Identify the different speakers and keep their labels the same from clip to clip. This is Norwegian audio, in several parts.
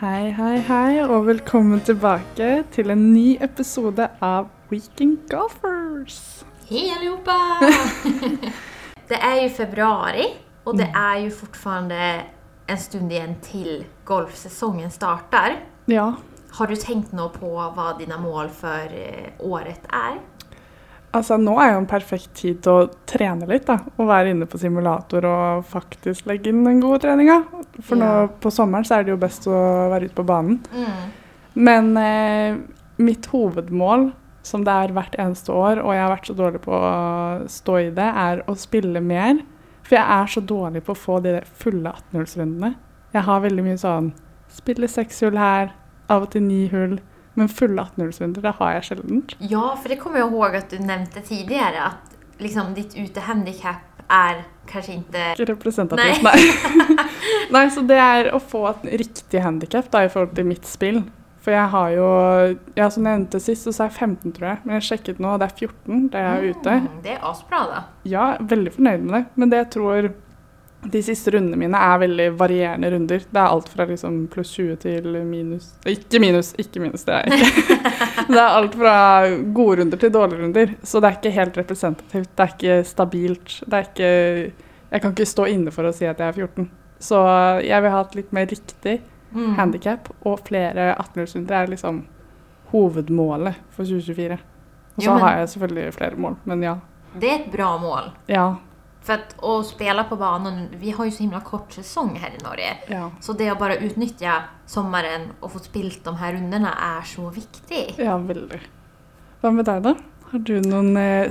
Speaker 1: Hei, hei, hei, og velkommen tilbake til en ny episode av Weekend Golfers.
Speaker 2: Hej allihopa! det är ju februari och det är ju fortfarande en stund igen till golfsäsongen startar.
Speaker 1: Ja,
Speaker 2: Har du tänkt nå på vad dina mål för eh, året är?
Speaker 1: altså nå er jo en perfekt tid til å trene litt, da. Og være inne på simulator og faktisk legge inn den gode treninga. For
Speaker 2: Ja.
Speaker 1: nå på sommeren så er det jo best å være ute på banen.
Speaker 2: Mm.
Speaker 1: Men eh, mitt hovedmål, som det er hvert eneste år, og jeg har vært så dårlig på å stå i det, er å spille mer. For jeg er så dårlig på å få de der fulle 18-hullsrundene. Jeg har veldig mye sånn spille seks hull her, av og til ni hull. Men fulle 18-hullsrunder, det har jeg sjelden.
Speaker 2: Ja, för det kommer jag ihåg att du nämnde tidigare att liksom, ditt utehandicap är kanske inte...
Speaker 1: Ikke representativt, nei. nei, så det er å få et riktig handikap i forhold til mitt spill. For jeg har jo ja, Som jeg nevnte sist, så sa jeg 15, tror jeg. Men jeg sjekket nå, og det er 14 det jeg er ute.
Speaker 2: Mm, det är asbra då.
Speaker 1: Ja, veldig fornøyd med det. Men det jeg tror de siste rundene mine er veldig varierende runder. Det er alt fra liksom pluss 20 til minus Ikke minus, ikke minus, det er jeg ikke. det er alt fra gode runder til dårlige runder. Så det er ikke helt representativt. Det er ikke stabilt. Det er ikke Jeg kan ikke stå inne for å si at jeg er 14. Så jeg vil ha et litt mer riktig
Speaker 2: Mm.
Speaker 1: handikap, og flere 18-årsrunder er liksom hovedmålet for 2024. Og så
Speaker 2: Jo, men-
Speaker 1: har jeg selvfølgelig flere mål, men ja.
Speaker 2: Det är ett bra mål.
Speaker 1: Ja.
Speaker 2: För att, att spela på banan, vi har ju så himla kort säsong här i Norge.
Speaker 1: Ja.
Speaker 2: Så det å bare utnyttje sommeren og få spilt de her rundene, er så viktig.
Speaker 1: Ja, veldig. Hva med deg, da? Har du noen eh,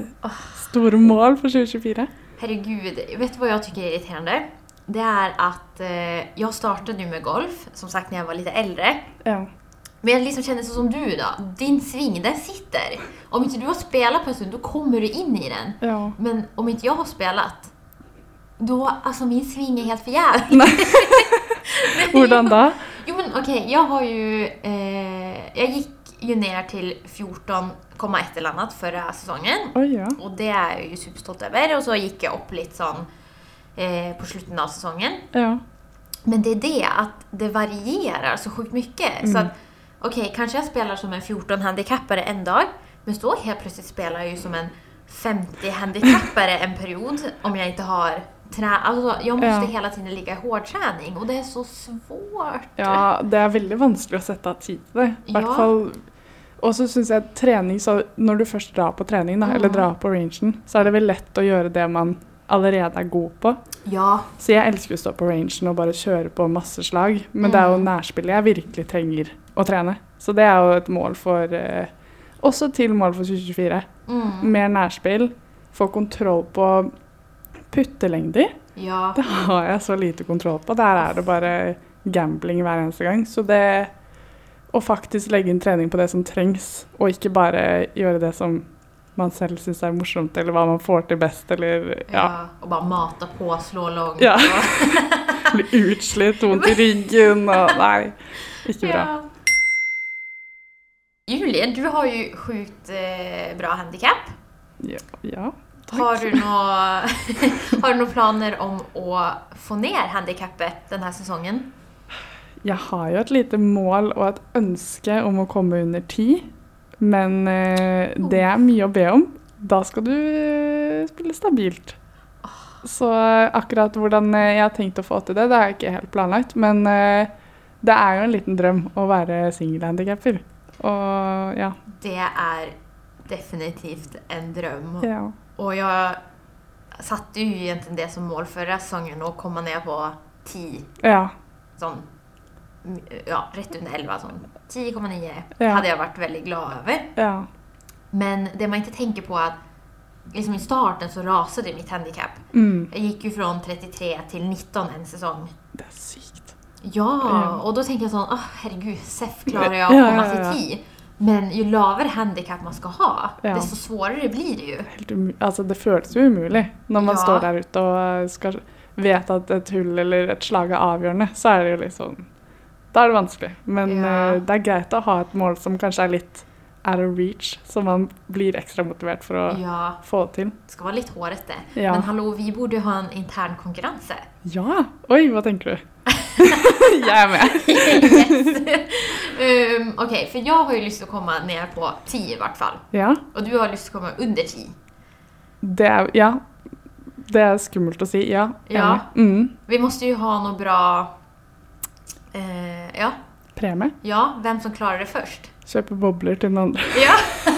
Speaker 1: store mål for 2024?
Speaker 2: Herregud, vet du hva jeg syns er irriterende? Det er at eh, jeg startet nå med golf, som sagt, når jeg var litt eldre.
Speaker 1: Ja.
Speaker 2: Men jeg liksom kjenner sånn som du, da. Din sving, den sitter. Om ikke du har spilt på en stund, da kommer du inn i den.
Speaker 1: ja.
Speaker 2: Men om ikke jeg har spilt, da Altså, min sving er helt for jævlig.
Speaker 1: Hvordan da?
Speaker 2: Jo, men ok, jeg har jo eh, Jeg gikk jo ned til 14,1 eller annet forrige sesongen.
Speaker 1: Oi, ja.
Speaker 2: Og det er jeg jo superstolt over. Og så gikk jeg opp litt sånn eh, på slutten av sesongen.
Speaker 1: Ja.
Speaker 2: Men det er det at det varierer så sjukt mye. Så at, ok, kanskje jeg spiller som en 14-handikappere en dag, men så helt plutselig spiller jeg jo som en 50-handikappere en period om jeg ikke har trä... Altså, jeg måtte
Speaker 1: Ja.
Speaker 2: hele tiden ligge i hårdtrening, og det er så svårt.
Speaker 1: ja. Det er veldig vanskelig å sette av tid til det. I hvert
Speaker 2: Ja.
Speaker 1: fall og så syns jeg trening, så når du først drar på trening, da, eller drar på rangen, så er det vel lett å gjøre det man allerede er god på.
Speaker 2: Ja,
Speaker 1: Så jeg elsker å stå på rangen og bare kjøre på masse slag, men det er jo nærspillet jeg virkelig trenger å trene. Så det er jo et mål for eh, Også til mål for 2024.
Speaker 2: Mm.
Speaker 1: Mer nærspill, få kontroll på puttelengder.
Speaker 2: ja.
Speaker 1: Det har jeg så lite kontroll på. Der er det bare gambling hver eneste gang. Så det å faktisk legge inn trening på det som trengs, og ikke bare gjøre det som man selv syns er morsomt, eller hva man får til best, eller
Speaker 2: ja.
Speaker 1: ja.
Speaker 2: Og bare mata på, slå langt.
Speaker 1: Ja.
Speaker 2: og-
Speaker 1: Blir utslitt, vondt i ryggen og Nei, ikke bra.
Speaker 2: Ja. Julie, du har ju sjukt eh, bra handikapp.
Speaker 1: Ja. ja.
Speaker 2: Har du, nå, har du noen planer om å få ned handikappet denne sesongen?
Speaker 1: Jeg har jo et lite mål og et ønske om å komme under ti, men eh, det er mye å be om. Da skal du eh, spille stabilt. Så eh, akkurat hvordan eh, jeg har tenkt å få til det, det har jeg ikke helt planlagt. Men eh, det er jo en liten drøm å være singelhandikapper. Og ja.
Speaker 2: Det er definitivt en drøm.
Speaker 1: ja.
Speaker 2: Og jeg satte jo egentlig det som mål forrige sesongen, å komme ned på ti.
Speaker 1: ja.
Speaker 2: Sånn ja, rett under elleve. Sånn 10,9
Speaker 1: Ja.
Speaker 2: hadde jeg vært veldig glad over.
Speaker 1: Ja.
Speaker 2: Men det man ikke tenker på, er at liksom i starten så raset mitt handikap.
Speaker 1: Mm.
Speaker 2: Jeg gikk jo fra 33 til 19 en sesong.
Speaker 1: Det er sykt.
Speaker 2: Ja,
Speaker 1: Ja.
Speaker 2: og da tenker jeg sånn åh, herregud, seff klarer jeg å
Speaker 1: Ja, ja,
Speaker 2: komme
Speaker 1: ja,
Speaker 2: til 10. Men jo lavere handikap man skal ha,
Speaker 1: Ja.
Speaker 2: desto svårere blir det jo.
Speaker 1: helt umu- altså, det føles jo umulig når man
Speaker 2: Ja.
Speaker 1: står der ute og eh, skal, vet at et hull eller et slag er avgjørende. Så er det jo liksom Da er det vanskelig. Men
Speaker 2: Ja.
Speaker 1: eh, det er greit å ha et mål som kanskje er litt out of reach, så man blir ekstra motivert for å
Speaker 2: Ja,
Speaker 1: få det til.
Speaker 2: det skal være litt hårete.
Speaker 1: Ja.
Speaker 2: Men hallo, vi burde jo ha en intern konkurranse.
Speaker 1: Ja! Oi, hva tenker du? Jag är med.
Speaker 2: yes. um, Okej, för jag har ju lust att komma ner på 10 i vart fall.
Speaker 1: Ja,
Speaker 2: Och du har lust att komma under 10.
Speaker 1: det är, ja. Det er skummelt å si. Ja.
Speaker 2: Ja.
Speaker 1: enig. Mm.
Speaker 2: Vi måste ju ha något bra... Eh, ja,
Speaker 1: Premie.
Speaker 2: ja, vem som klarar det först.
Speaker 1: Kjøpe bobler til den andre.
Speaker 2: Ja.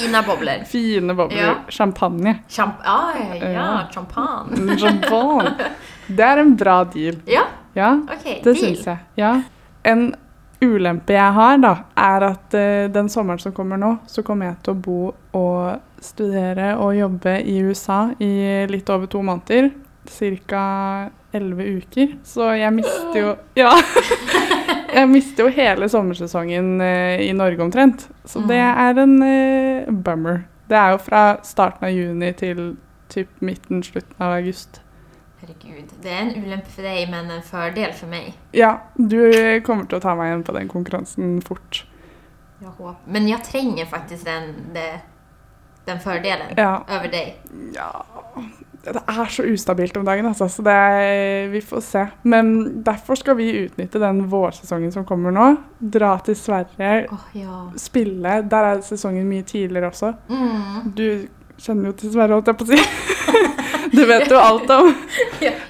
Speaker 2: Fina bobblor.
Speaker 1: Fine bobler.
Speaker 2: Ja.
Speaker 1: Champagne.
Speaker 2: Champ aj, ja,
Speaker 1: Ja.
Speaker 2: champagne.
Speaker 1: Champagne. Det er en bra deal.
Speaker 2: Ja,
Speaker 1: Ja,
Speaker 2: okej.
Speaker 1: det
Speaker 2: deal.
Speaker 1: syns jeg. Ja. En ulempe jeg har, da, er at eh, den sommeren som kommer nå, så kommer jeg til å bo og studere og jobbe i USA i litt over to måneder. Cirka elleve uker. Så jeg mister jo Ja. Jeg mister jo hele sommersesongen eh, i Norge omtrent. Så det er en eh, bummer. Det er jo fra starten av juni til typ midten, slutten av august.
Speaker 2: Herregud, det är en olämpe för dig men en fördel för mig.
Speaker 1: Ja, du kommer til å ta meg igjen på den konkurransen fort.
Speaker 2: Jag hoppas. Men jag tränger faktiskt den, det- den fördelen
Speaker 1: Ja.
Speaker 2: över dig.
Speaker 1: ja Det er så ustabilt om dagen, altså, så det er, vi får se. Men derfor skal vi utnytte den vårsesongen som kommer nå. Dra til Sverige,
Speaker 2: Åh, ja.
Speaker 1: spille. Der er sesongen mye tidligere også.
Speaker 2: Mm.
Speaker 1: Du kjenner jo til Sverige, holdt jeg på å si. Du vet jo alt om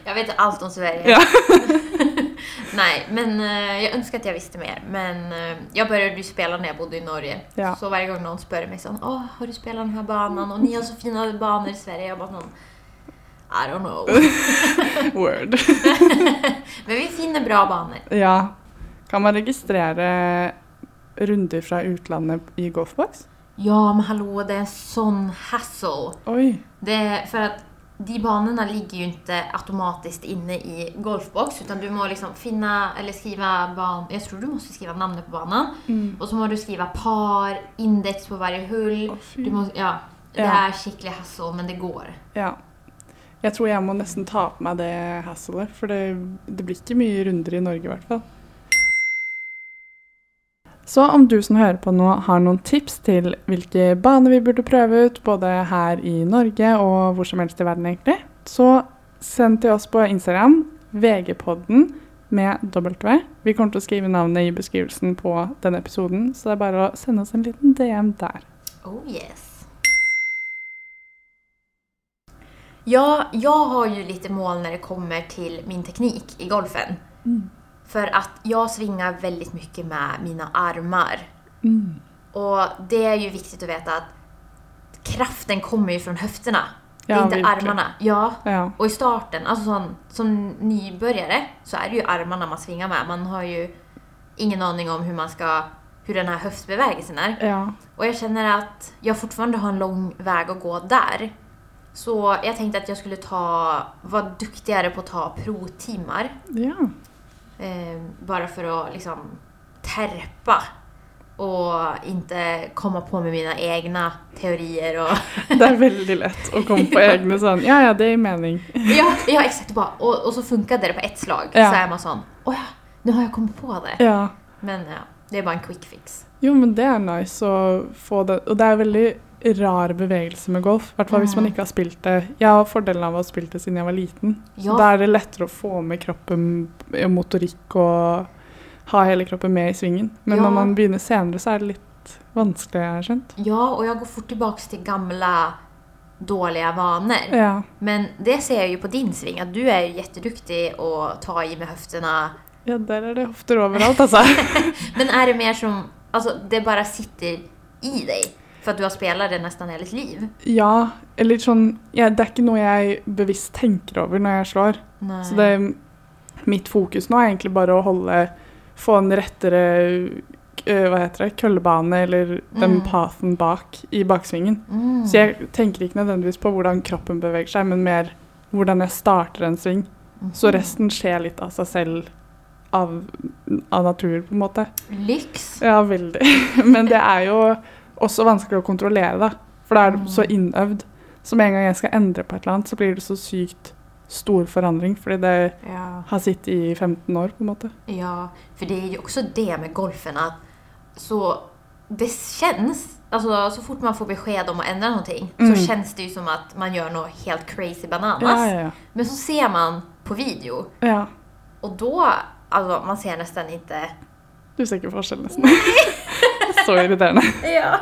Speaker 2: Jag vet allt om Sverige.
Speaker 1: Ja.
Speaker 2: Nej, men eh, jag önskar att jag visste mer. Men eh, jag började ju spela när jag bodde i Norge.
Speaker 1: Ja.
Speaker 2: Så varje gång någon spöade mig sån, sånn, åh, har du spelat den här banan? Och ni har så fina banor i Sverige. Jag bara sån, I don't know.
Speaker 1: Word.
Speaker 2: Men vi finner bra banor.
Speaker 1: Ja. Kan man registrere runder fra utlandet i Golfbox?
Speaker 2: Ja, men hallå, det är en sån hassle.
Speaker 1: Oi.
Speaker 2: Det är för att de banorna ligger ju inte automatiskt inne i golfbox utan du måste liksom finna eller skriva ban... Jag tror du måste skriva namnet på banan
Speaker 1: Mm.
Speaker 2: och så måste du skriva par, index på varje hull.
Speaker 1: Å, fy.
Speaker 2: Du måste, ja, det
Speaker 1: Ja.
Speaker 2: är skicklig hassel men det går.
Speaker 1: Ja. Jeg tror jeg må nesten ta på meg det hasselet, for det, det blir ikke mye runder i Norge i hvert fall. Så om du som hører på nå har noen tips til hvilke baner vi burde prøve ut, både her i Norge og hvor som helst i verden egentlig, så send til oss på Instagram, VG-podden med W. Vi kommer til å skrive navnet i beskrivelsen på denne episoden, så det er bare å sende oss en liten DM der.
Speaker 2: Oh yes. Ja, jag har ju lite mål när det kommer till min teknik i golfen.
Speaker 1: Mm.
Speaker 2: För att jag svingar väldigt mycket med mina armar. Och det är ju viktigt att veta att kraften kommer ju från höfterna. det
Speaker 1: Ja,
Speaker 2: är inte
Speaker 1: verkligen.
Speaker 2: armarna. Ja.
Speaker 1: Ja.
Speaker 2: Och i starten, alltså sån, som nybörjare, så är det ju armarna man svingar med. Man har ju ingen aning om hur man ska hur den här höftbevägelsen är.
Speaker 1: Ja.
Speaker 2: Och jag känner att jag fortfarande har en lång väg att gå där. Så jag tänkte att jag skulle ta, vara duktigare på att ta provtimmar.
Speaker 1: Ja.
Speaker 2: Eh, bara för att liksom terpa och inte komma på med mina egna teorier och...
Speaker 1: Det er veldig lett å komme på egne sånn Ja, ja, det gir mening.
Speaker 2: ja, ja, exakt. Bara, och, och så funkade det på ett slag.
Speaker 1: Ja.
Speaker 2: Så är man sån, åh sånn, ja, nu har jag kommit på det.
Speaker 1: Ja.
Speaker 2: Men ja, det är bara en quick fix.
Speaker 1: Jo, men det er nice å få det Og det er veldig rar bevegelse med golf. I hvert fall
Speaker 2: Mm.
Speaker 1: hvis man ikke har spilt det. Jeg har fordelen av å ha spilt det siden jeg var liten.
Speaker 2: Ja.
Speaker 1: Så da er det lettere å få med kroppen og motorikk og ha hele kroppen med i svingen. Men
Speaker 2: Ja.
Speaker 1: når man begynner senere, så er det litt vanskelig, jeg har skjønt.
Speaker 2: Ja, och jag går fort tillbaka till gamla dåliga vanor.
Speaker 1: Ja.
Speaker 2: Men det ser jag ju på din sving, att du är ju jätteduktig att ta i med höfterna.
Speaker 1: ja, der er det hofter overalt, altså.
Speaker 2: Men är det mer som, alltså det bara sitter i dig? För att du har spelat det nästan hela ditt liv?
Speaker 1: Ja, eller sånn ja, Det er ikke noe jeg bevisst tenker over når jeg slår.
Speaker 2: Nej.
Speaker 1: Så det, mitt fokus nå er egentlig bare å holde Få en rettere øh, hva heter det, køllebane, eller den
Speaker 2: Mm.
Speaker 1: pathen bak i baksvingen.
Speaker 2: mm.
Speaker 1: Så jeg tenker ikke nødvendigvis på hvordan kroppen beveger seg, men mer hvordan jeg starter en sving. Så
Speaker 2: Mm.
Speaker 1: resten skjer litt av seg selv, av, av natur, på en måte.
Speaker 2: Lyx!
Speaker 1: Ja, veldig. Men det er jo også vanskelig å kontrollere, da. For da er det så
Speaker 2: Mm.
Speaker 1: innøvd. Så med en gang jeg skal endre på et eller annet, så blir det så sykt stor forandring. Fordi det
Speaker 2: Ja.
Speaker 1: har sittet i 15 år, på en måte.
Speaker 2: ja, för det är ju också det med golfen att så det känns, alltså så fort man får besked om att ändra någonting
Speaker 1: Mm.
Speaker 2: så känns det ju som att man gör något helt crazy bananas.
Speaker 1: Ja, ja, ja.
Speaker 2: Men så ser man på video
Speaker 1: ja.
Speaker 2: och då Alltså man ser nästan inte...
Speaker 1: Du ser ikke forskjell, nesten. Så irriterende.
Speaker 2: Ja.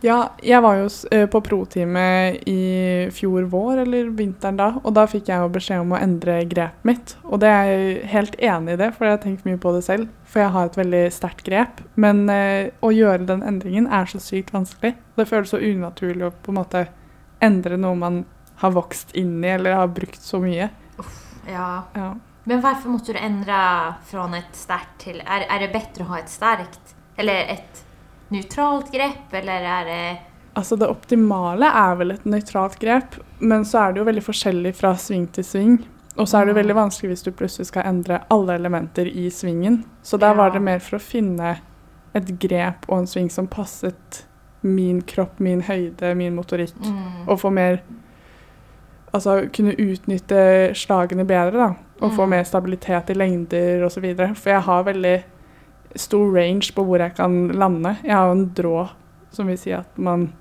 Speaker 1: Ja, jeg var jo s- eh, på pro-teamet i fjor vår, eller vinteren da, og da fikk jeg jo beskjed om å endre grepet mitt. Og det er jeg helt enig i det, for jeg har tenkt mye på det selv. For jeg har et veldig sterkt grep. Men eh, å gjøre den endringen er så sykt vanskelig. Det føles så unaturlig å på en måte endre noe man har vokst inn i, eller har brukt så mye.
Speaker 2: ja.
Speaker 1: Ja.
Speaker 2: Men varför måste du ändra från ett starkt till... Är, är det bättre att ha ett starkt? Eller ett neutralt grepp? Eller är det...
Speaker 1: Altså Det optimale er vel et nøytralt grep, men så er det jo veldig forskjellig fra sving til sving. Og så er det jo
Speaker 2: Mm.
Speaker 1: veldig vanskelig hvis du plutselig skal endre alle elementer i svingen. Så der var
Speaker 2: Ja.
Speaker 1: det mer for å finne et grep og en sving som passet min kropp, min høyde, min motorikk.
Speaker 2: Mm.
Speaker 1: Og få mer Altså kunne utnytte slagene bedre, da. Og få
Speaker 2: Mm.
Speaker 1: mer stabilitet i lengder osv. For jeg har veldig stor range på hvor jeg kan lande. Jeg har jo en drå som vil si at man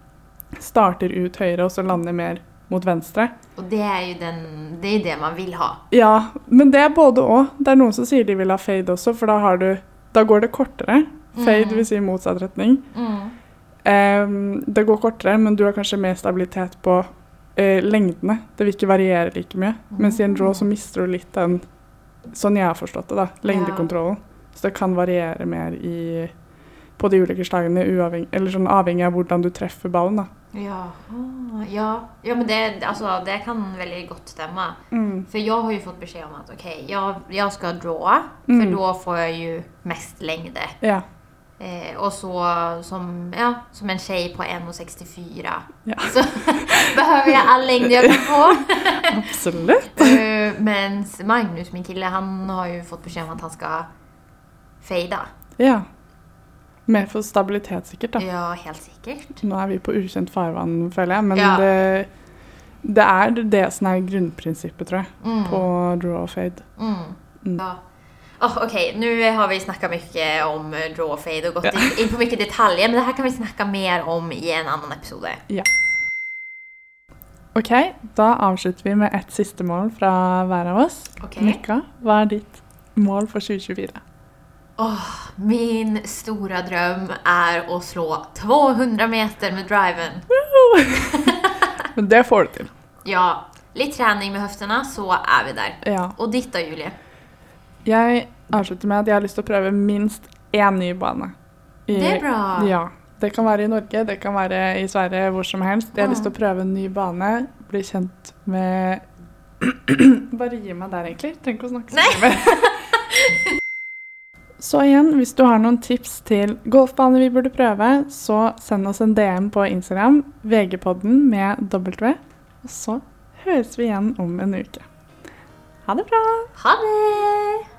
Speaker 1: starter ut høyre og så lander mer mot venstre.
Speaker 2: Och det är ju den, det, är det man vill ha.
Speaker 1: Ja, men det er både og. Det er noen som sier de vil ha fade også, for da, har du, da går det kortere. Fade
Speaker 2: Mm.
Speaker 1: vil si motsatt retning.
Speaker 2: Mm.
Speaker 1: Ehm, det går kortere, men du har kanskje mer stabilitet på eh, lengdene. Det vil ikke variere like mye. Mens i en draw
Speaker 2: Ah.
Speaker 1: så mister du litt den Sånn jeg har forstått det, da. Lengdekontrollen. Så det kan variere mer i, på de ulike slagene, uavhengig, eller sånn avhengig av hvordan du treffer ballen. da.
Speaker 2: Jaha. Ja, ja men det, alltså, det kan väldigt gott stämma. För jag har ju fått besked om att okej, jag, jag ska drawa,
Speaker 1: Mm.
Speaker 2: för då får jag ju mest längd.
Speaker 1: Ja.
Speaker 2: Eh, och så som, ja, som en tjej på 1,64
Speaker 1: Ja.
Speaker 2: så behöver jag all längd jag kan få.
Speaker 1: Absolutt.
Speaker 2: Eh, Men Magnus, min kille, han har ju fått besked om att han ska fejda.
Speaker 1: Ja. Mer for stabilitet, sikkert. da.
Speaker 2: Ja, helt säkert.
Speaker 1: Nå er vi på ukjent farvann, føler jeg, men
Speaker 2: Ja.
Speaker 1: det, det er det som er grunnprinsippet, tror jeg,
Speaker 2: Mm.
Speaker 1: på draw og fade.
Speaker 2: Mm.
Speaker 1: Mm.
Speaker 2: Ja. Oh, Okej, nu har vi snackat mycket om eh, draw och fade och gått in- in på mycket detaljer, men det här kan vi snacka mer om i en annan episode.
Speaker 1: Ok, da avslutter vi med ett siste mål fra hver av oss.
Speaker 2: Okej.
Speaker 1: Mykka, hva er ditt mål for 2024?
Speaker 2: Min stora dröm är att slå 200 meter med driven.
Speaker 1: Men det får du til.
Speaker 2: Ja, lite träning med höfterna så är vi där.
Speaker 1: Ja.
Speaker 2: Och ditt då Julie?
Speaker 1: Jeg avslutter med at jeg har lyst til å prøve minst én ny bane. I-
Speaker 2: Det är bra!
Speaker 1: Ja. Det kan være i Norge, det kan være i Sverige, hvor som helst. Jeg har lyst til å prøve en ny bane, bli kjent med Bare gi meg der, egentlig. Trenger ikke å snakke så mye mer. Så igjen, hvis du har noen tips til golfbaner vi burde prøve, så send oss en DM på Instagram, VG-podden med W. Og så høres vi igjen om en uke. Ha det bra!
Speaker 2: Ha det!